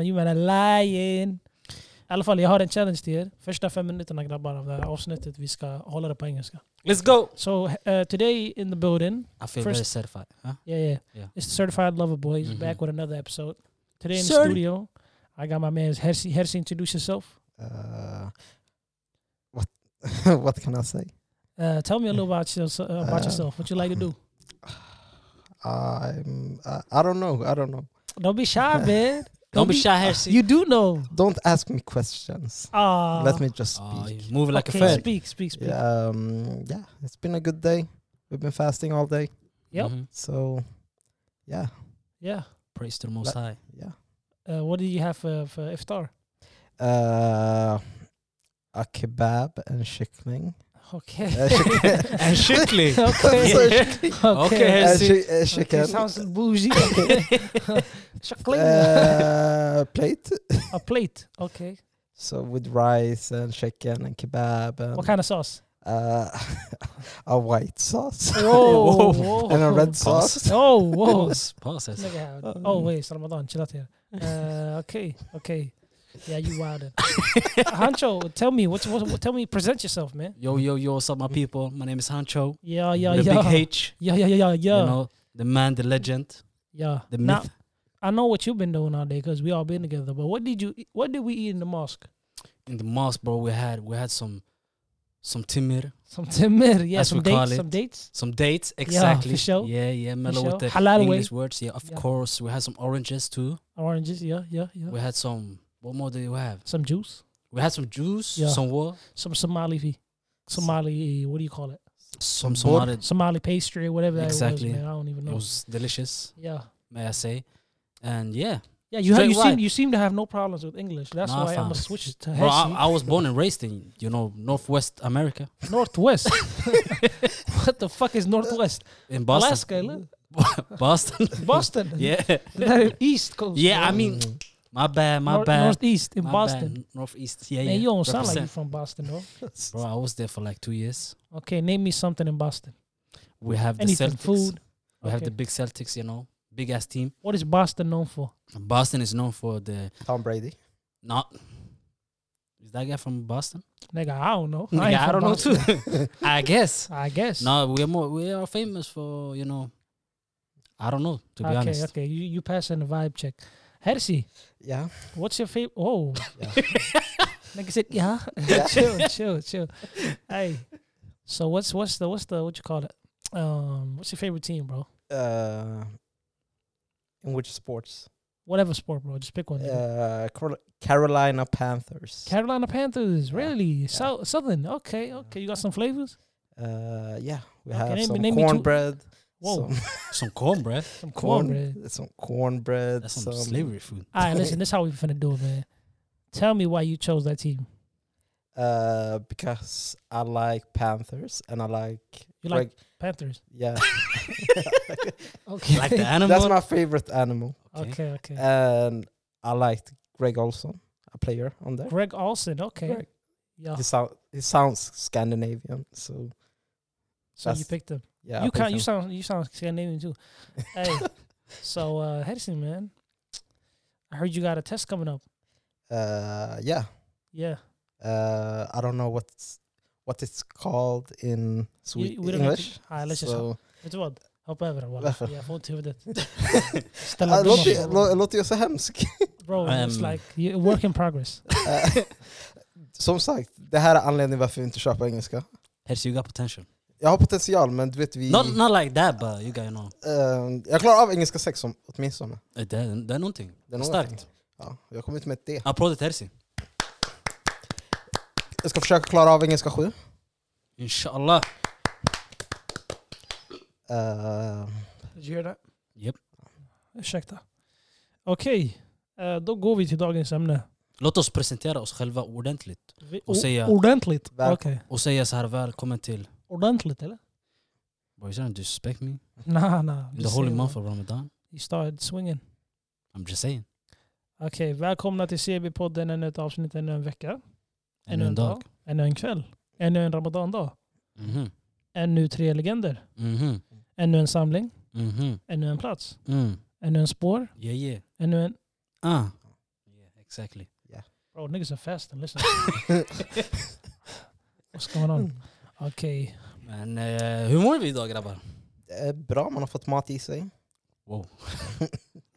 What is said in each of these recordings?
You man a lion. I alla fall, jag har en challenge till er. Första fem minuterna grabbar av det här avsnittet, vi ska hålla det på engelska. Let's go! So uh, today in the building, I feel First- very certified. Huh? yeah, yeah, Yeah. it's the Certified Lover Boys Mhm. back with another episode. Today in the Certi- studio, I got my man Hersi. Hersi, introduce yourself. Uh, what what can I say? Uh, tell me a little about, yourse- uh, about Uh, yourself. What you like to do? I'm I, I don't know. I don't know. Don't be shy, man. Don't be shy, Hersey. Ah, You do know. Don't ask me questions. Ah, Let me just speak. Oh, you move like okay, a fan. Speak, speak, speak. yeah, um, yeah, it's been a good day. We've been fasting all day, Yep. Mhm. so yeah, Yeah. Praise to the Most Let- High. yeah. Uh, what do you have for, for iftar? Uh, a kebab and kyckling. Okay. Uh, chicken. And Shikli. okay. So Okay, Okay. uh, Hersey. chi- uh, Okay, chicken. sounds bougie. Chocolate. Uh, plate. a plate. Okay. So with rice and chicken and kebab and What kind of sauce? uh, a white sauce Whoa. Whoa. and a red Um, sauce. Oh, whoa. Pause. Pause. Hersey. Nigga, oh, wait. It's Ramadan. Chill out here. Uh, okay. Okay. Yeah, you wildin'. Hancho, tell me. What's, what, what, tell me. Present yourself, man. Yo, yo, yo, what's up, my people? My name is Hancho. Yeah, yeah, the yeah. big H. Yeah, yeah, yeah, yeah, yeah. You know, the man, the legend, yeah. the Now, myth. I know what you've been doing all day because we all been together. But what did you? eat- What did we eat in the mosque? In the mosque, bro, we had we had some some timir, Some timir, yeah. As Some we call dates, it. some dates. some dates. Exactly. for sure. Yeah, yeah. Mellow sure. with the Halal way. English words. Yeah, of Yeah. course. We had some oranges too. Oranges, yeah, yeah, yeah. We had some. What more do you have? some juice, We had some juice, Yeah. some what? some Somali, fee- Somali, what do you call it? Some Bor- Somali. It Somali pastry, whatever that Exactly. was. Man. I don't even know. was delicious, Yeah, may I say? And yeah, yeah. You have, Straight you seem white. you seem to have no problems with English. That's Nah, why I'm fam. gonna switch to bro, I, Hesi. I was born and raised in you know Northwest America Northwest. what the fuck is Northwest? in Boston. Alaska, look. Boston. Boston. yeah, Not East Coast. yeah. I bro. mean, Mm. my bad, my Nor- bad. Northeast in my Boston. bad, Northeast. Yeah, yeah. Man, you don't sound like you Represent. from Boston, bro. Mm. Bro, I was there for like two years. Okay, name me something in Boston. We have Anything, the Celtics. food. We have Okay. the big Celtics. You know, big ass team. What is Boston known for? Boston is known for the Tom Brady. not. Is that guy from Boston? Nigga, I don't know. Nigga, ain't I, from don't know Boston. too. I guess. I guess. No, we are more. We are famous for you know. I don't know to be okay, honest. okay. You you passing the vibe check. Hersey, Yeah. what's your favorite? Oh, Yeah. like I said, yeah. Yeah. chill, chill, chill. Hey, so what's what's the what's the what you call it? Um, what's your favorite team, bro? Uh, in which sports? Whatever sport, bro. Just pick one. nigga. Uh, Carol- Carolina Panthers. Carolina Panthers, Yeah, really? yeah. South Southern. Okay, okay. You got some flavors. uh, yeah, we Okay, have name me- some name me two- cornbread. Whoa, some Some cornbread. some corn, corn, bro. some cornbread. That's some slavery food. All right, listen. This is how we finna do it, man. Tell me why you chose that team. Uh, because I like Panthers and I like. You like- reg- Panthers. yeah, Okay. Like the animal. that's my favorite animal, okay, okay. Uh, and I liked Greg Olson, a player on there. Greg Olson. Okay. Greg. Yeah. He sound he sounds Scandinavian, so So you that's- picked them. yeah. I you picked can't. You him. sound. You sound Scandinavian too. Hey, so uh, Hedison, man, I heard you got a test coming up. uh, yeah. Yeah, Uh, I don't know what's what it's called in Swedish. we don't have English. to- Ah, let's just so, uh, vet du vad? Hoppa över det bara. Varför? Jag får inte huvudet. Ställa Ah, upp låter, mig. ju- lå- låter ju så hemskt. Bro, it's Um. like you- work in progress. Eh, Som sagt, det här är anledningen varför vi inte kör på engelska. Hersey, you got potential. Jag har potential, men du vet vi... Not not like that, but you got you know. ehm, jag klarar av engelska sex om, åtminstone. eh, Det är, det är någonting. Det är någonting. Starkt. Ja, jag kommer inte med det. Applåder till Hersey. Jag ska försöka klara av engelska sju. Inshallah. Ehm, Did you hear that? Yep. Ursäkta. Okej, eh, då går vi till dagens ämne. Låt oss presentera oss själva ordentligt Vi, Och o- säga- ordentligt. Okej. Väl- och säga så här välkommen till... Ordentligt eller? Boy, you don't disrespect me. Nah, nah. In the holy month of Ramadan. You started swinging. I'm just saying. Okej, välkomna till CB-podden. Ännu ett avsnitt, ännu en vecka. Ännu en dag. Ännu en kväll. Ännu en ramadandag. Mhm. Ännu tre legender. Mhm. Ännu en samling. Mhm. Ännu en plats. Mm. Ännu en spår. Yeah, yeah. Ännu en... Ah. Exactly. Bro, niggas are fast and listen. What's going on? Okay. Men eh, hur mår vi idag grabbar? Eh, bra, man har fått mat i sig. Wow.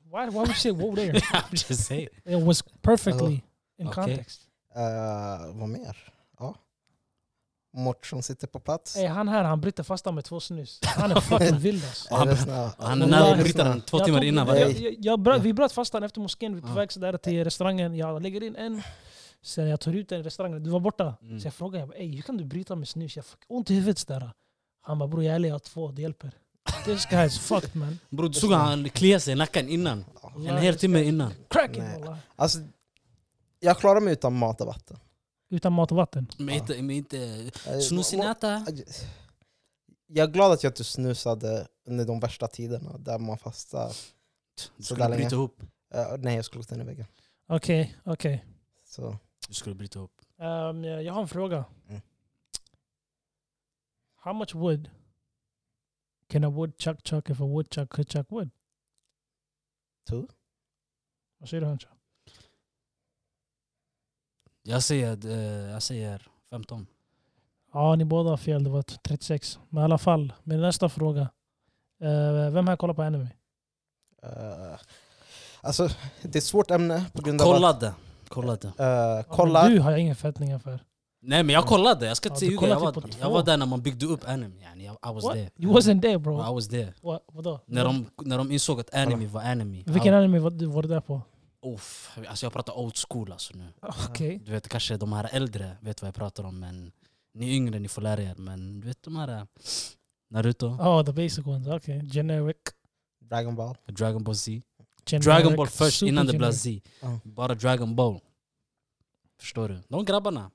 Why, why would you say whoa there? I'm just saying. It was Alltså, perfectly in Okay. context. Eh, vad mer? Ja. Mortsson sitter på plats. Ey, han här, han bryter fast han med två snus. Han är fucking vild alltså. han- det snö? Och Han är Wallahi, Om nära det att bryta snö. den två Jag timmar tog- innan. jag, varje- varje- jag, jag bröt, Ja. Vi bröt fast den efter moskén, vi är på Ja. väg sådär till restaurangen. Jag lägger in en, sen jag tar ut den i restaurangen. Du var borta. Mm. Så jag frågade, jag bara, "Ey, hur kan du bryta med snus? Jag fick ont i huvudet sådär. Han bara, bror jag är ärlig, jag har två, det hjälper. This guy is fucked man. Bror du såg han klia sig i nacken innan. En hel timme innan. Cracking Nej. wallah. Alltså, jag klarar mig utan mat och vatten. Utan mat och vatten. Men Ja. inte... Men inte Eh, må- Snusinäta. Jag är glad att jag inte snusade under de värsta tiderna där man fastar. Du Så skulle där länge. bryta ihop. Eh, nej, jag skulle gå in i väggen. Okej, okej. Så, Du skulle bryta ihop. Ehm, jag jag har en fråga. Mm. How much wood can a woodchuck chuck if a woodchuck could chuck wood? Two. Vad säger du Hancho? Jag säger, eh, jag säger 15. Ja, ni båda har fel. Det var 36. Men i alla fall, med nästa fråga. Eh, vem här kollar på anime? eh, alltså, det är ett svårt ämne på grund av att... Kollade. Kollade. eh, Ja, men kollar. Du har jag ingen fattning för. Nej men jag kollade, jag ska Ja, inte du ljuga. kollade Jag, typ på var- jag två. var där när man byggde upp anime. Yani, jag, I was What? there. You wasn't there bro. I was there. What, vadå? När de, när de insåg att anime var anime. Vilken I, anime var, du- var du där på? uff, alltså jag pratar old school alltså nu. Ah, Okej. Du vet kanske de här äldre vet vad jag pratar om men ni yngre ni får lära er. Men du vet de här eh, Naruto, Oh, the basic ones. Okej. Generic. Dragon Ball. Dragon Ball Z. generic. Dragon Ball först super innan det blev generic. Z. Ja. Bara Dragon Ball. Förstår du? De grabbarna.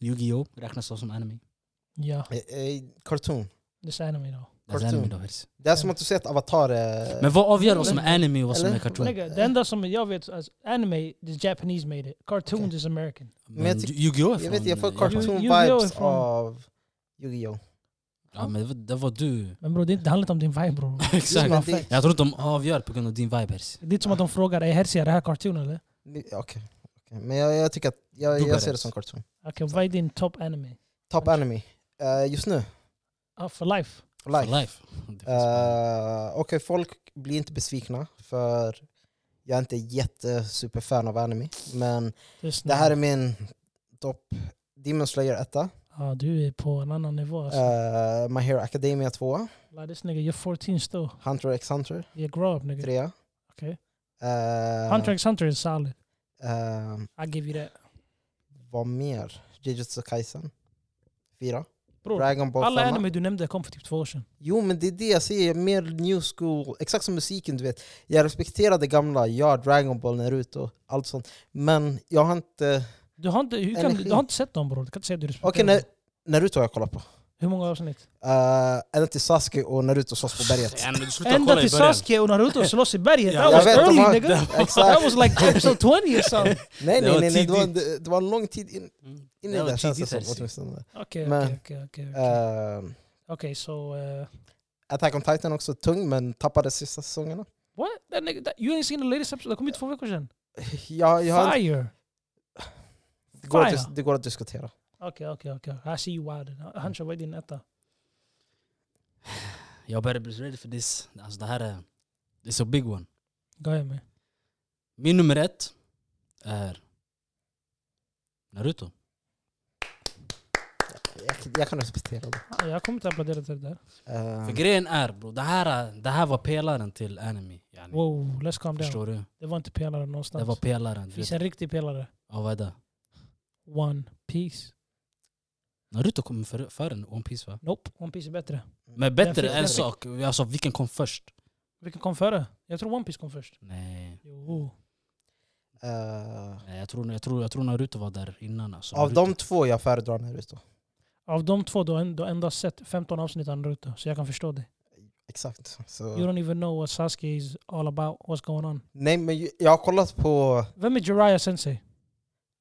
Yu-Gi-Oh! räknas då som anime. Ja, Eh, eh, cartoon. this anime då. Det är Cartoon. anime då, Hirsi. Det är som att du ser ett avatar. eh, Men vad avgör vad som är anime och vad som Eller? är cartoon? Nigga, det enda som jag vet, alltså, anime, the Japanese made it. Cartoons Okej. is American. Men jag tyck- Yu-Gi-Oh! är jag vet, från jag får Japan. Yu- cartoon Yu-Gi-Oh! är vibes från- av Yu-Gi-Oh! Ja, men det var, det var du. Men bror, det, är inte- det handlar inte om din vibe bror. Just Exakt. men det- Jag tror inte de avgör på grund av din vibe Hirsi. Det är inte som att de frågar, är Herzi, är det här cartoon eller? Ni- Okej. okej. Men jag, jag tycker att jag, Du jag got ser det it. som cartoon. Okej, vad är din top anime? Top anime. Eh, just nu, Ah, for life. For live. life. Det finns- Eh, Okej, folk blir inte besvikna för jag är inte jättesuperfan av anime. Men det här är min topp. Demon Slayer 1, eh, Ja, du är på en annan nivå. Alltså. My Hero Academia 2, Like this nigga, you're 14 still. Hunter x Hunter You're grow up nigga. 3. Okej. eh, Hunter x Hunter is solid. eh, I give you that. vad mer? Jujutsu Kaisen 4. Bror, Dragon Ball alla 5. anime du nämnde kom för typ två år sedan. Jo men det är det jag säger, mer new school, exakt som musiken du vet. Jag respekterar det gamla, ja Dragon Ball, Naruto, allt sånt. Men jag har inte... Du har inte, hur kan, Energi. du har inte sett dem bror. Du kan inte säga att du respekterar Okej, dem. okay, Naruto har jag kollat på. Hur många avsnitt? Uh, ända till Sasuke och Naruto slåss på berget. Ja, men du slutar Ända kolla i till början. Sasuke och Naruto slåss i berget. Ja, That jag was vet, de early har- nigga. That Exakt! was like episode 20 or something. Nej Det var nej nej, nej det, var, tidigt. det, det var en lång tid in, Mm. in i Det det var där känns det som. tidigt, Hirsi. Åtminstone. Okej, Men, okej, okej, okej. okej. Eh, Okej, so... Uh, Attack on Titan också tung men tappade sista säsongerna. what? That nigga, that, you ain't seen the latest episode? Det kom ju två veckor sedan. Jag, jag har, Fire! det, går att, Fire. dis- det går att diskutera. Okej, okej, okej. I see you widen. Hancho, vad är din etta? Jag börjar bli ready for this. Alltså det här är... It's a big one. Go ahead man. Min nummer ett är... Naruto. Jag, jag kan respektera det. Ja, Jag kommer inte applådera till det där. Eh, För grejen är bro, det här, det här var pelaren till anime. Yani. Wow, let's calm down. Förstår du? Det var inte pelare Det någonstans. var pelaren. Det du finns vet. en riktig pelare. Ja, vad är det? One Piece. Naruto kom före för en One Piece va? Nope, One Piece är bättre. Men Den bättre finns en där. sak, alltså vilken kom först? Vilken kom före? Jag tror One Piece kom först. Nej, Jo. eh, nej, jag tror, jag tror, jag tror Naruto var där innan. Alltså. av Naruto. de två jag föredrar Naruto. Av de två du har en- du har endast sett 15 avsnitt av Naruto, så jag kan förstå det. Exakt. Så. You don't even know what Sasuke is all about, what's going on. Nej men ju- jag har kollat på... Vem är Jiraiya sensei?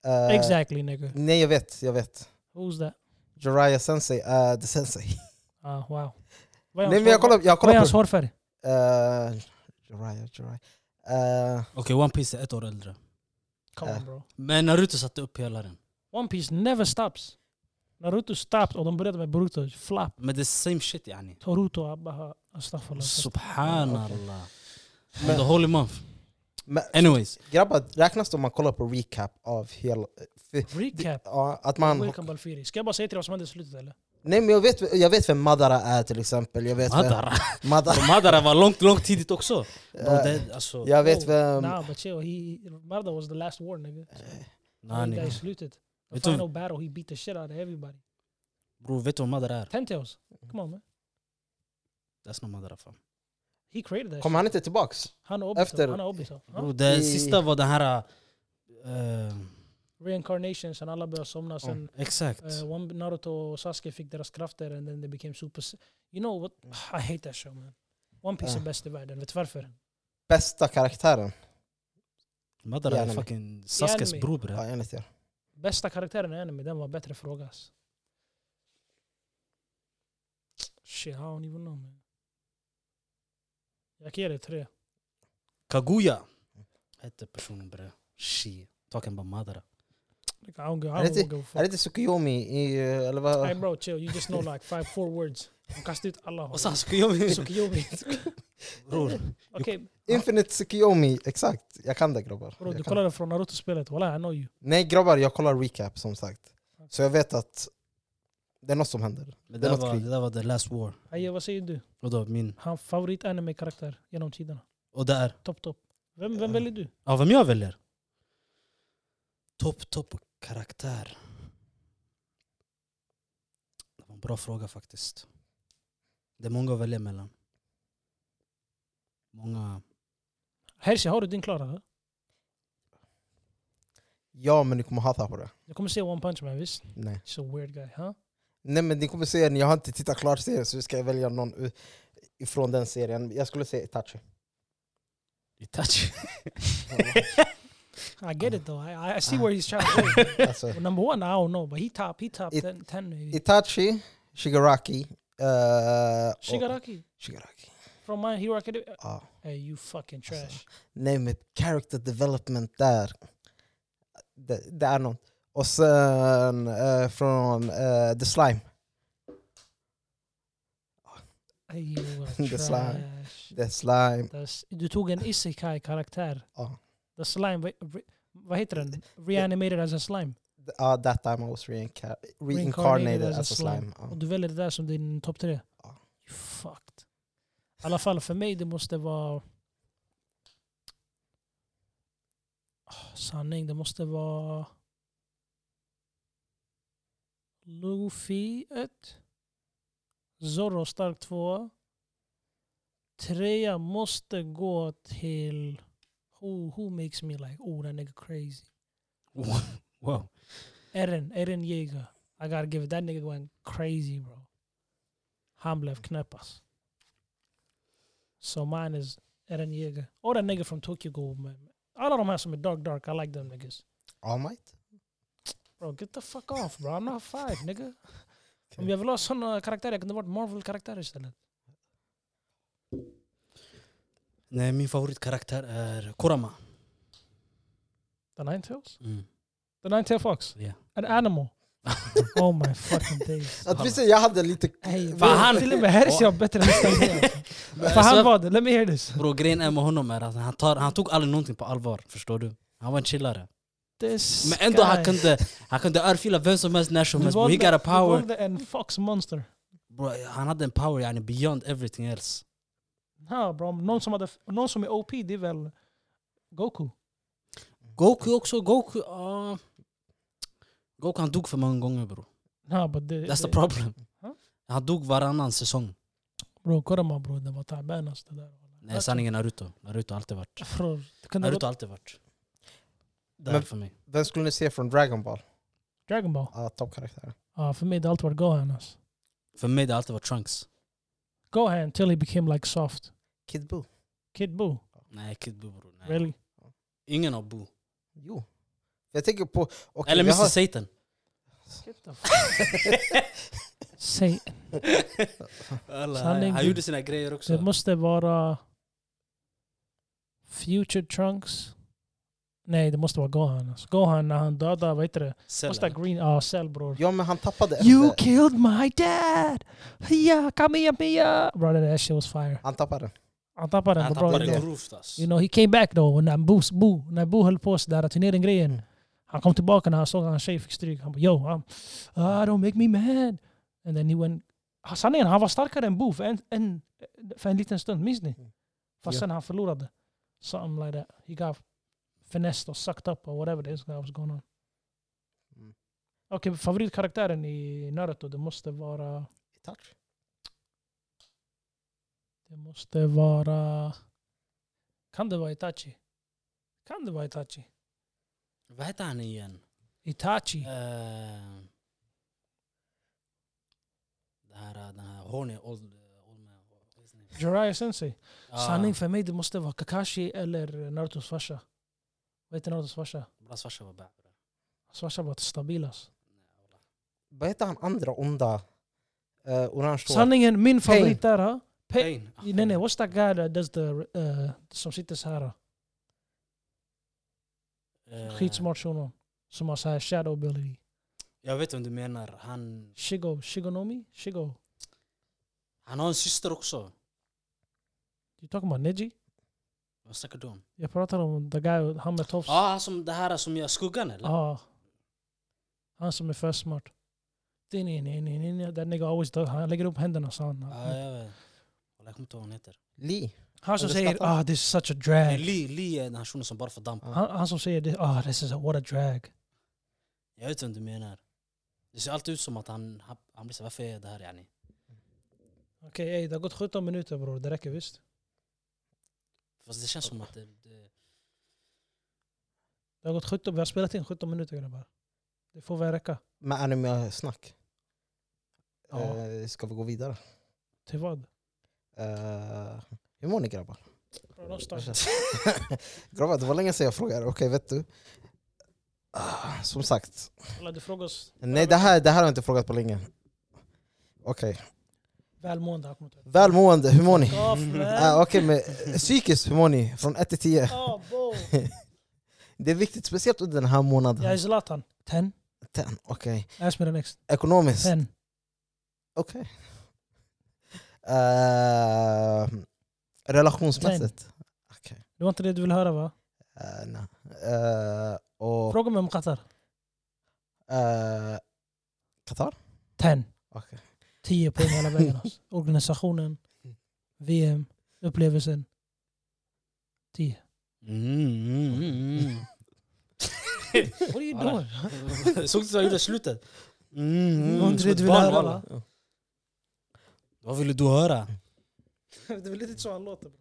eh, exactly nigga. Nej jag vet, jag vet. Who's that? Jiraiya sensei, uh, the sensei. Ah, wow. Vad är nej hans men jag hår- kollar, jag Vad är kollar hans på... hårfärg? Uh, Jiraiya, Jiraiya. Eh, Okej, One Piece är ett år äldre. Come Äh. on bro. Men Naruto satte upp hela den. One Piece never stops. Naruto stopped och de började med Boruto. Flap. Men det är same shit yani. Toruto Abbaha. Astaghfirullah. Subhanallah. Men- The holy month. Men Anyways. grabbar, räknas det om man kollar på recap av hela... för- Recap. Ja, att man... Welcome Balfiri. Ska jag bara säga till dig vad som hände i slutet eller? Nej men jag vet, jag vet vem Madara är till exempel. Jag vet vem... Madara. Madara. De Madara var långt, långt tidigt också. De där, alltså, Jag vet Oh, vem... Nah but chill. He, Marda was the last war nigga. Eh, Han nani. där i slutet. The Vet du- final battle he beat the shit out of everybody. Bro, vet du vad Madara är? Tentails. Come on man. That's not Madara fan. He created that Kom han inte tillbaks? shit. Han och Obito. efter- Han och Obito. Ja. Bro, det I- sista var den här... eh, Reincarnations and alla började somna Oh. sen. exakt. Uh, one Naruto och Sasuke fick deras krafter and then they became super... s- You know what? I hate that show man. One Piece Ja. är bäst i världen, vet du varför? Bästa karaktären? Madara är Jävlar. fucking Saskes Jävlar. bror bre. Ja, enligt er. Bästa karaktären i anime, den var bättre fråga alltså. Shit, I don't even know man. Jag kan ge dig tre. Kaguya hette personen bre. She. Talking about Madara. Like, I don't, go, I Är det don't give a Är det fuck. inte Tsukuyomi i... eh, Eller vad? Hey bro, chill. You just know like five, four words. De kastar ut alla. Och sen Tsukuyomi. Sukiyomi. Bror, Okej, Infinite Tsukuyomi, exakt. Jag kan det grabbar. bro, du jag kan. kollade från Naruto-spelet. Walla, I know you. Nej grabbar, jag kollar recap som sagt. Så jag vet att det är något som händer. det, Det är där något var, krig. det där var the last war. Aye, vad säger du? Vadå min? Han favorit-anime-karaktär genom tiderna. Och där. Topp, topp. Vem, vem väljer du? Ja, vem jag väljer? Topp, topp karaktär. Det var en bra fråga faktiskt. Det är många att välja mellan. Många... Hershey, har du din klara? eller? Ja, men ni kommer hata på det. Du kommer se One Punch Man, visst? Nej. He's a weird guy, huh? Nej men ni kommer se den, jag har inte tittat klart serien så ska jag välja någon u- ifrån den serien. Jag skulle säga Itachi. Itachi. I get it though. I, I see where he's trying to go. alltså, Well, number one, I don't know, but he top, he top It- 10, 10 maybe. Itachi, Shigaraki. eh, och- Shigaraki Shigaraki. from My Hero Academia. Ja. Hey, you fucking trash. Nej men character development där. Det, det är något. Och sen eh, från eh, The Slime. Hey, you are The slime. trash. The Slime. Das- Du tog en isekai-karaktär. Ja. The slime, vad- re- vad heter den? Reanimated as a slime. Ah, that time I was reinca- reincarnated as a slime. Ja. Och du väljer det där som din topp tre? Ja. You fucked. I alla fall för mig det måste vara... Ah, sanning, det måste vara... Luffy 1. Zorro stark 2. Trea måste gå till... Who, who makes me like, oh that nigga crazy. Wow. Eren, Eren Yeager. I gotta give it. That nigga went crazy, bro. Han blev knäpp ass. So mine is Eren Yeager. Or that nigga from Tokyo Ghoul. Man. Alla de här som är dark dark, I like them niggas. All Might? Bro, get the fuck off bro. I'm not five nigga. Om jag vill ha såna karaktärer, jag kunde varit Marvel-karaktärer istället. Nej, min favoritkaraktär är Kurama. The Ninetales? Mm. The Ninetale Fox? Yeah. An animal? oh my fucking days. Att vi säger jag hade lite... Hey, Fan, han- till och med Hershey har bättre nostalgi. För han var det, let me hear this. Bro, grejen är med honom är att han, tar, han tog aldrig någonting på allvar. Förstår du? Han var en chillare. This Men ändå guy. han kunde, han kunde örfila vem som helst när som Du helst. Bro, he got a power. valde en fox monster. Bro, han hade en power yani beyond everything else. Ja, bro. Någon, som hade, någon som är OP, det är väl Goku? Goku också, Goku... ja. Goku han dog för många gånger bro. Ja, but det, That's the det, problem. Ja. Han dog varannan säsong. bro, Kurama bro, det var taben alltså. Det där. Nej sanningen Naruto. Naruto har alltid varit. Bro, det kunde ha Naruto gått har alltid varit. Där Men- för mig. Vem skulle ni se från Dragon Ball? Dragon Ball. Ah, Toppkaraktärer. Ja, för mig det har alltid varit Gohan alltså. För mig det har alltid varit Trunks. Gohan till he became like soft. Kid Buu. Kid Buu, Nej Kid Buu bror. Nej. really? Ingen av Buu. Jo. Jag tänker på... okej, Eller vi Mr har- Satan. Get the fuck- Säg, Alla, Sanningen. han gjorde sina grejer det uh, också. måste vara Future Trunks, Nej, det måste vara Gohan. Alltså. Gohan när han dödar, vad heter det? Cell, Måste eller? ha uh, Green... Ja, Cell bror. Ja men han tappade You efter, killed my dad! Yeah, come here, Mia! Bro, that that shit was fire. han tappade. Han tappade den Han på bra tappade det. nivå. grovt alltså. You know, he came back though. När Bo, Bo, när Bo höll på sådär, turneringen-grejen. Mm. Han kom tillbaka när han såg att hans tjej fick stryk. Han bara yo, I'm, ah, don't make me mad. And then he went... Ah, Sanningen, han var starkare än Bo för en, en, för en liten stund, minns ni? Mm. Fast Ja. sen han förlorade. Something like that. He got finessed or sucked up or whatever this guy was going on. Mm. Okej, favoritkaraktären i Naruto, det måste vara... Touch. Det måste vara... Kan det vara Itachi? Kan det vara Itachi? Vad heter han igen? Itachi? Eh, det här, eh, den här horny old, eh, old man. vad heter han? Jiraiya sensei? Ja, Sanning för mig, det måste vara Kakashi eller uh, Narutos farsa. Vad heter Narutos farsa? Bras farsa var bad. bro. Hans farsa var stabil alltså. Vad heter han andra onda? Eh, orange hår. Sanningen, min Pain. favorit där... ha? Pain. Pain. Ah, Nej nej, what's that guy that does the... eh, som sitter så här. ha? Eh, Skitsmart shunon. Som har så här shadow ability. Jag vet vem du menar. Han, Shigo, Shigonomi? Shigo. han har en syster också. You talking about Neji? Vad snackar du om? Jag pratar om the guy, han med tofs. Ja, ah, som det här som gör skuggan eller? Ja. Han som är för smart. Din, din, din, din, din. That nigga always does. Han lägger upp händerna så han. Ja, jag vet. Jag kommer inte ihåg vad han heter. Lee. Han som Underskattar. säger ah this is such a Nej, drag. Lee, Lee är den här shunon som bara får damp. Han, han som säger det, ah this is a, what a drag. Jag vet vem du menar. Det ser alltid ut som att han, han, han blir så varför är jag det här yani? Okej ey, det har gått 17 minuter bror, det räcker visst. Fast det känns som att det, det, Det har gått 17, vi har spelat in 17 minuter grabbar. Det får väl räcka. Med anime-snack. Ja. Eh, ska vi gå vidare? Till vad? Eh, hur mår ni grabbar? Bro, de startar. grabbar, det var länge sedan jag frågade. Okej, vet du? Ah, som sagt. Kolla, du frågar oss Nej, det här, det här har jag inte frågat på länge. Okej. välmående. här kommer det. Välmående, hur mår ni? Fuck off, man. Ah, Okej, men eh, psykiskt, hur mår ni? Från 1 till 10. Ah, bo. Det är viktigt, speciellt under den här månaden. Jag är Zlatan. 10. Ten, Okej. Ask me the next. Ekonomiskt? 10. Okej. Eh, relationsmässigt? Okej. Det var inte det du ville höra va? Eh, nej. Eh, och Fråga mig om Qatar. eh, Qatar? 10. Okej. 10 poäng hela vägen. Alltså. Organisationen, VM, upplevelsen. 10. Mm, mm, mm. What are you doing? Såg du vad jag gjorde i slutet? Mm, Det var inte det du ville höra va? Vad ville du höra? Det är väl lite så han låter. Men-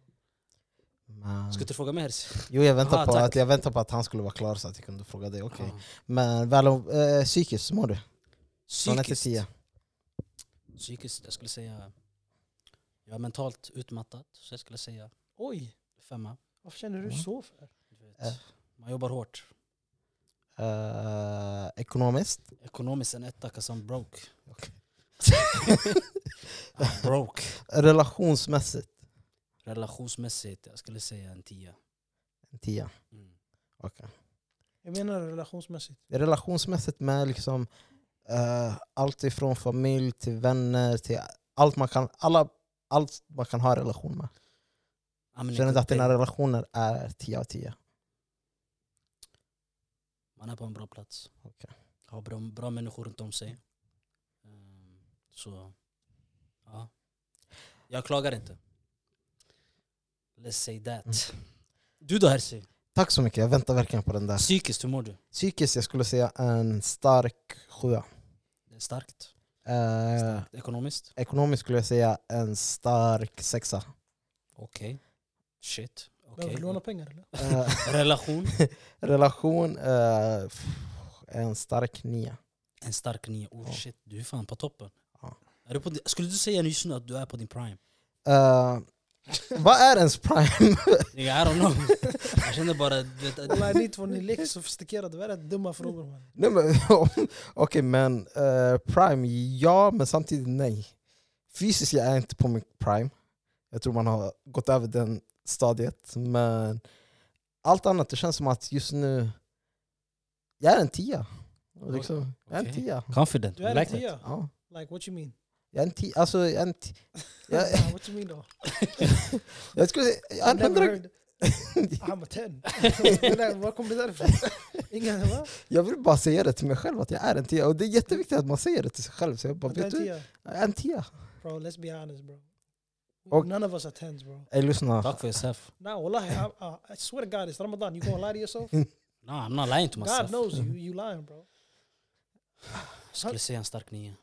Mm. Ska du fråga mig? Herz? Jo, jag väntar Ah, på tack. att jag väntar på att han skulle vara klar så att jag kunde fråga dig. Okej. Men väl, eh, psykiskt, hur mår du? Från 1 till Psykiskt, 10. psykiskt, jag skulle säga... Jag är mentalt utmattad, så jag skulle säga Oj, femma. varför känner du Mm. så för? Du vet. Äh. Man jobbar hårt. Eh, ekonomiskt? Ekonomiskt en etta, 'cause I'm broke. Okej. I'm broke. Relationsmässigt? Relationsmässigt, jag skulle säga en tia. 10. Mm. Jag menar relationsmässigt. relationsmässigt med liksom, eh, allt ifrån familj till vänner till allt man kan, alla, allt man kan ha en relation Mm, med. Ja, men Känner du att det är dina gott. relationer är 10 av 10? Man är på en bra plats. Okej. Har bra, bra människor runt om sig. Ehm, Så, ja. Jag klagar inte. Let's say that. Du då Herzi? Tack så mycket, jag väntar verkligen på den där. Psykiskt, hur mår du? Psykiskt jag skulle säga en stark sjua. Det är starkt. Eh, starkt. Ekonomiskt? ekonomiskt skulle jag säga en stark sexa. Okej. Shit. Behöver Okej. du låna pengar eller? Eh, Relation? relation, eh, pff, en stark nia. En stark nia. Oh Ja. shit, du är fan på toppen. Ja. Är du på, di- skulle du säga just nu att du är på din prime? Eh, vad är ens prime? I don't know. Jag känner bara... Du vet, att- Walla ni två, ni leker sofistikerade. Vad är det dumma frågor man? Nej, men, Okej, men eh, Prime, ja, men samtidigt nej. Fysiskt jag är inte på min Prime. Jag tror man har gått över den stadiet. Men Allt annat, det känns som att just nu, jag är en tia. Liksom, jag är en Okej. tia. Confident. Du we är like like that. tia. Ja. Like what you mean? Jag är en tia, alltså jag är en tia. Jag, Nah, what you mean though? jag skulle säga, jag är I en never hundra, heard. I'm a ten. Var kom det där ifrån? Ingen, va? jag vill bara säga det till mig själv att jag är en tia. Och det är jätteviktigt att man säger det till sig själv. Så jag bara, Att du är vet en du? tia. Jag är en tia. eh? Bro, let's be honest bro. Och- None of us are tens bro. Ey lyssna, Talk for yourself. Nah, wallahi, I, I, I swear to God, it's Ramadan. You gonna lie to yourself? No, I'm not lying to myself. God knows you, you lying bro. Jag skulle säga en stark nia.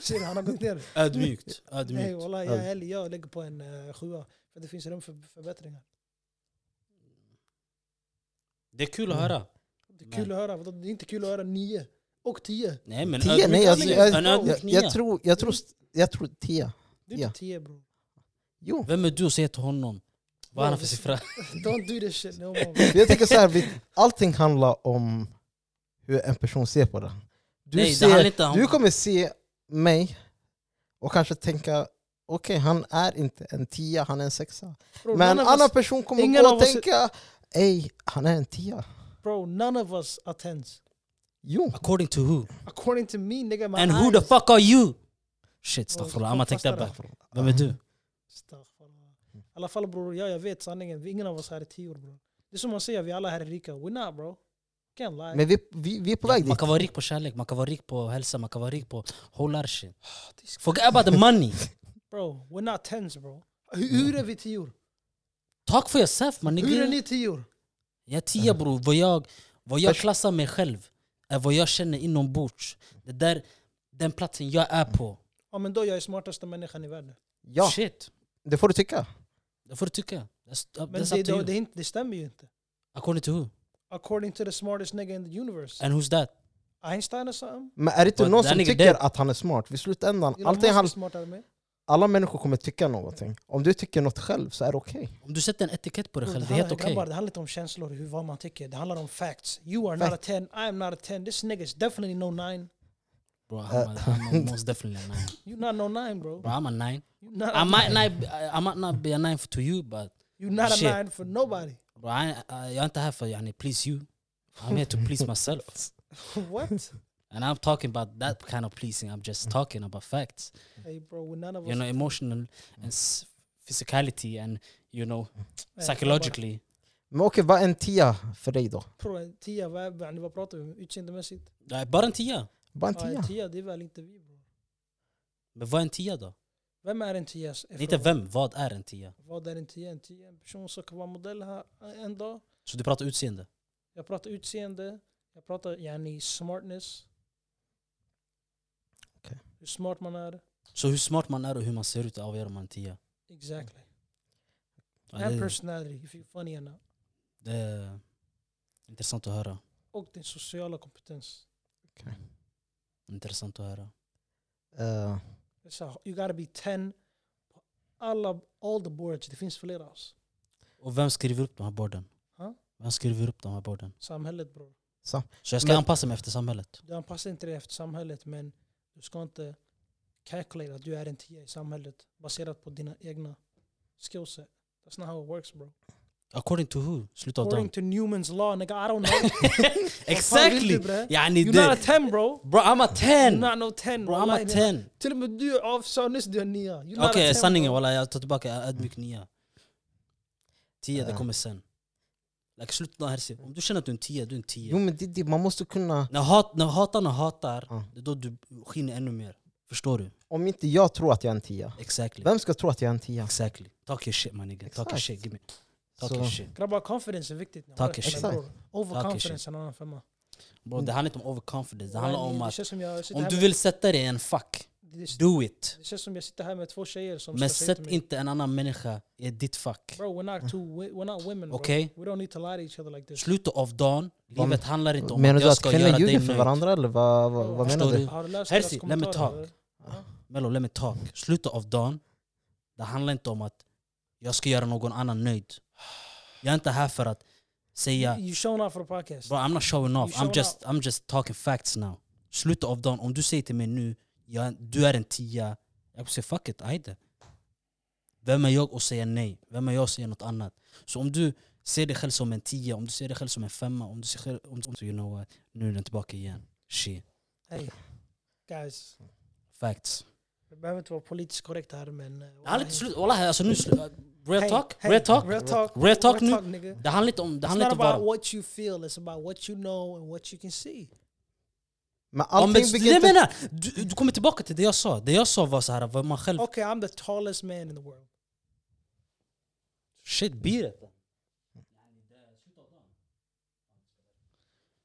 Shit, han har gått ner. Ödmjukt. Nej Ödmjukt. wallah, jag är Ja. ärlig, jag lägger på en eh, sjua. För det finns rum för förbättringar. Det är kul att höra. Det är kul Men- att höra, vadå? det är inte kul att höra nio och tio. Nej men Tia, nej, alltså, nia. jag- En jag, ödmjuk nia. jag, tror, jag, tror, jag tror tia. Det är inte Ja. tio bro. Jo. Vem är du att säga till honom? Vad är han för siffra? Don't do this shit no more. För Jag tänker så här, vi- allting handlar om hur en person ser på det. Du, Nej, det handlar inte ser, om- du kommer se mig och kanske tänka okej, han är inte en tia, han är en sexa. Bro, Men en none of us- annan person kommer ingen gå av och oss- tänka ej, han är en tia. Bro, none of us are tens. Jo, According to who? According to me, nigga, my And eyes. Oh, who the fuck are you? Bro, Shit, staffurlah. kom I'mma take that fastare. back. Vem är du? Mm. Astaghfirullah. I alla fall bror, ja, jag vet sanningen. Vi- Ingen av oss här är tio år bror. Det är som man säger, vi alla här är rika. We're not bro. Can't lie. men vi, vi, vi är på väg Man dit. kan vara rik på kärlek, man kan vara rik på hälsa, man kan vara rik på whole lot of shit. Ah, Forget about the money. Bro, we're not tens bro. Hur, hur är vi tio år? Talk for yourself man. Hur är nigga. ni tio år? Jag är tia bror. Vad jag, vad jag klassar mig själv är vad jag känner inombords. Det där, den platsen jag är på. Ja men då jag är smartaste människan i världen. Ja, Shit. det får du tycka. Det får du tycka. That's, uh, Men that's det, up to det, det, you. är inte, det stämmer ju inte. According to who? According to the smartest nigga in the universe. And who's that? Einstein eller something? Men är det inte But någon den som är tycker dead. att han är smart? Vid slutändan, Elon allting Musk är handlar, smartare än mig. alla människor kommer tycka någonting. Om du tycker något själv så är det okej. Om du sätter en etikett på dig Bro, själv, det är handlar, helt okej. grabbar, det handlar inte om känslor, hur, vad man tycker. Det handlar om facts. You are not a 10, I am not a 10. This nigga is definitely no 9. Bro, I'm, a, I'm a most definitely a nine. You're not no 9 bro. Bro, I'm a nine. You're not, I might not, be- I I might not be a nine to you, but you're not a Shit. 9 for nobody. bro, I, I, jag är inte här för yani, please you. I'm here to please myself. What? And I'm talking about that kind of pleasing. I'm just talking about facts. hey bro, we're none of us. You know, emotional and s- physicality and you know, Hey, psychologically. Men okej, vad är en tia för dig då? grabbar, Bro, en tia, vad, är- vad- vad pratar vi om? Utseendemässigt? Nej, Bara en tia. Bara en Ja, en tia? tia, det är väl inte vi bro. Men vad är en tia då? Vem är en tia? Inte vem, vad är en tia? Vad är en tia? En tia är en person som kan vara modell här eh, en dag. Så du pratar utseende? Jag pratar utseende, jag pratar yani smartness. Okej. Hur smart man är. Så hur smart man är och hur man ser ut avgör om man är en tia. Exactly. Ja, And det- personality, if you're funny or not. Det är intressant att höra. Och din sociala kompetens. Intressant att höra. Eh, Så you gotta be 10 på alla, all the boards. Det finns flera alltså. Och vem skriver upp de här borden? Ja. Vem skriver upp de här borden? Samhället bror. Så jag ska Men- anpassa mig efter samhället. Du anpassar inte dig efter samhället men du ska inte calculate att du är en tia i samhället baserat på dina egna skillset. That's not how it works bro. According to who? Sluta av According dem. to Newmans law nigga, I don't know. Exactly! bre? Yani You're not a det. 10 bro. Bro I'm a You're 10! not no 10. Bro I'm wallahi, a nigga. 10! Till och med du av- sa nyss du är nia. You're not a Okej 10, sanningen bro. walla jag tar tillbaka, jag är ödmjuk nia. Tia det Ja. kommer sen. Like, sluta här, se. om du känner att du är en tia, du är en jo tia. men det, det, man måste kunna, När, hat, när hatarna hatar, Ja. det är då du skiner ännu mer. Förstår du? om inte jag tror att jag är en tia, Exactly. vem ska tro att jag är en tia? Exactly. Talk your shit my nigga. Talk your Exakt. shit. Give me. Talk Så- your shit. Grabbar, confidence är viktigt. nu. Tack, Exakt. Exakt. Overconfidence är en annan femma. Bro, det handlar inte om overconfidence, det handlar om Det att känns som jag sitter om här du med- vill sätta dig i en fack, det- do it. Det känns som jag sitter här med två tjejer som Men ska säga sätt till mig, inte en annan människa i ditt fack. Bro, we're not, two, wi- we're not women bro. Okej? We don't need to lie to each other like this. Slutet av dagen, Vad- livet handlar inte om Menar att du jag att ska göra kvinnor dig ljuger för nöjd. varandra eller vad, vad, vad Förstår menar du? du? Har du läst Hersi, deras let me kommentarer, talk. eller? Mello, let me talk. Slutet av dagen, det handlar inte om att jag ska göra någon annan nöjd. Jag är inte här för att säga You showing out for the podcast. Bro, I'm not showing off. You I'm showing just, I'm just talking facts now. Slutet av dagen, om du säger till mig nu, jag, du är en tia. Jag säger fuck it, ajde. Vem är jag att säga nej? Vem är jag att säga något annat? Så om du Se dig själv som en tia, om du ser dig själv som en femma, om du ser själv, om, om, you know what, nu är den tillbaka igen. Shit. Hey, guys. Facts. Vi behöver inte vara politiskt korrekta här men... eh, Det handlar inte slut, wallah, alltså nu slut. Real Hey, talk, hey, real talk. Real talk. Real talk nu. nigga. Det handlar inte om, det It's handlar not inte om about vad... what you feel, it's about what you know and what you can see. Men Om, allting det jag bygger inte... menar, du, du kommer tillbaka till det jag sa. Det jag sa var så här, vad man själv... Okay, I'm the tallest man in the world. Shit, beat it.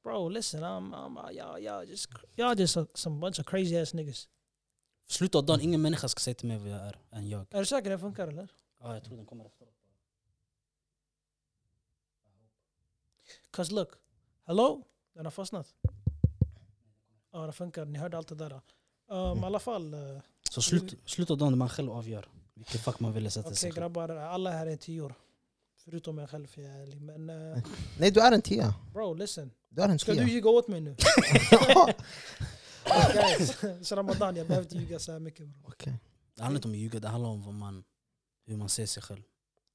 Bro, listen, I'm, I'm uh, y'all, y'all just, cr- y'all just a, some bunch of crazy ass niggas. Slut av dagen, ingen människa ska säga till mig vad jag är än jag. Är du säker det funkar eller? Ja, jag tror den kommer efteråt. Cause look, hello, den har fastnat. Ja, det funkar. Ni hörde allt det där. Um, I alla fall, eh, Så slut, slut av dagen, man själv avgör vilken fack man vill sätta okej sig själv. grabbar, eh, alla här är tior. Förutom jag själv, för jag är ärlig. Men eh, Nej, du är en tia. bro, listen. Du är en Ska tia. du ljuga åt mig nu? Ja, Guys, så Ramadan, jag behöver inte ljuga så här mycket. Bro. Okej. Det handlar inte om att ljuga, det handlar om vad man, hur man ser sig själv.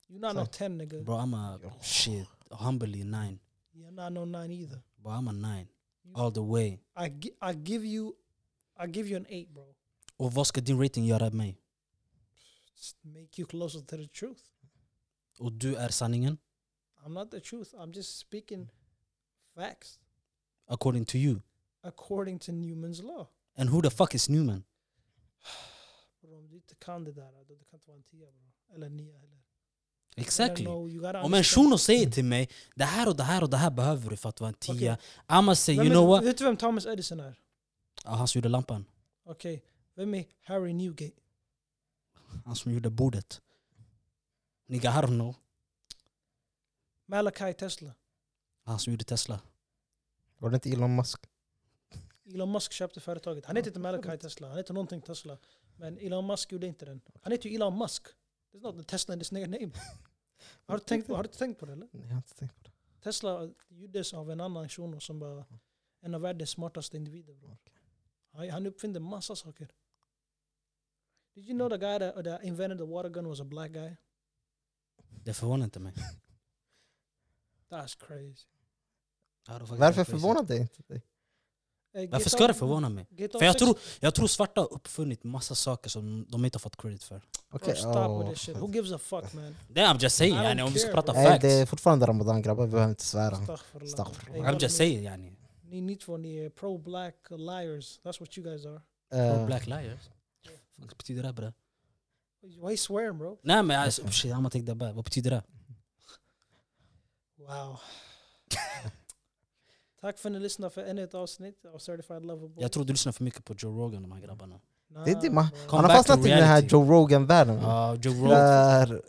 You're not no 10 nigga. Bro, I'm a shit, humbly nine. You're not no 9 either. Bro, I'm a nine. All the way. I, gi- I give you I give you an 8 bro. Och vad ska din rating göra med mig? Just make you closer to the truth. Och du är sanningen, I'm not the truth. I'm just speaking facts according to you. according to Newman's law. And who the fuck is Newman? Bro, om du inte kan det där, då det kan inte vara en 10 bro. Eller 9 heller. Exactly. No, you gotta Om en shuno säger till mig det här och det här och det här behöver du för att vara en tia. I'ma say Vem you är- know what? Vet du vem Thomas Edison är? Ah, han som gjorde lampan. Okej. Vem är Harry Newgate? Han som gjorde bordet. Nigga I don't know. Malachi Tesla. Han som gjorde Tesla. Var det inte Elon Musk? Elon Musk köpte företaget. Han heter inte Malachi Tesla, han heter någonting Tesla. Men Elon Musk gjorde inte den. Han heter ju Elon Musk. There's not the Tesla in this nigga name. Har du tänkt på, har du tänkt på det eller? Nej, jag har inte tänkt på det. Tesla gjordes av en annan shuno som var Mm. en av världens smartaste individer. Bro. Han, han uppfinde massa saker. Did you know the guy that, that invented the water gun was a black guy? Det förvånar inte mig. That's crazy. Ja, det var faktiskt Varför crazy. förvånar det inte dig? Eh, get Varför ska det off- förvåna mig? get off För jag sex- tror, jag tror svarta har uppfunnit massa saker som de inte har fått credit för. Bro, Okej, stop åh. with this shit. Who gives a fuck man? Det I'm just saying I don't yani, om vi ska care, prata bro. Nej, facts. det är fortfarande ramadan grabbar, vi behöver inte svära. Astaghfirullah. Astaghfirullah. Hey, I'm ni- just saying yani. Ni ni två, ni är uh, pro-black liars. That's what you guys are. Eh, Black liars. Vad betyder det bre? Why you swearing bro? Nej men alltså, shit, I'ma take that back. Vad betyder det? Wow. Tack för att ni lyssnade för ännu ett avsnitt av Certified Lover Boy. Jag tror du lyssnar för mycket på Joe Rogan de här grabbarna. Nah, Det är det bro. man- Kom. Han har back to fastnat i den här reality. Joe Rogan-världen. Ja, Joe Rogan. Där,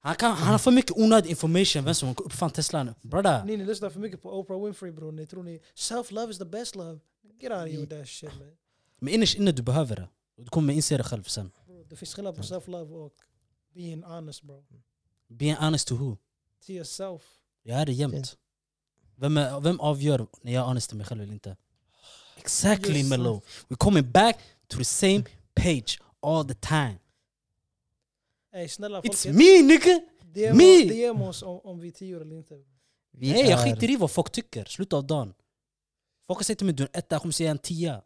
Han, kan, han har för mycket onödig information, vem som uppfann Tesla nu. Brada, Ni, ni lyssnar för mycket på Oprah Winfrey bror. Ni tror ni self-love is the best love. Get out of here with that shit man. men innerst inne du behöver det. Du kommer inse det själv sen. Bro, det finns skillnad på self-love och being honest bro. Mm. Being honest to who? To yourself. Jag är det jämt. Vem, är, vem avgör när jag är honest till mig själv eller inte? Exactly Yourself. Melo. We're coming back to the same page all the time. Ey snälla It's folket. me nigga! DM, me! DM oss om, om vi är tior eller inte. vi Nej jag är- skiter i vad folk tycker, slut av dagen. Folk säger till mig du är en etta, jag kommer säga en tia.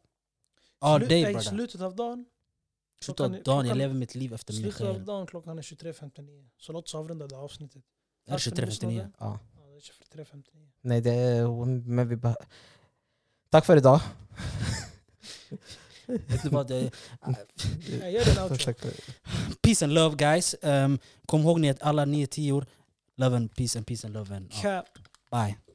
All Slu- day ey, brada. slutet av dagen. Slut klockan av är- dagen, jag klockan- lever mitt liv efter min Slutet av själ. dagen klockan är 23.59. Så låt oss avrunda det här avsnittet. Är det Tack för att ni lyssnade. 23.59? Ja. Ja, det är 23.59. Nej, det är... Men vi behöver... Tack för idag. Vet du vad, det- Jag gör din outro. Tack för- eh, Peace and love guys. Ehm, Um, kom ihåg ni att alla ni är tior. Love and peace and peace and love and ja. Cap. bye.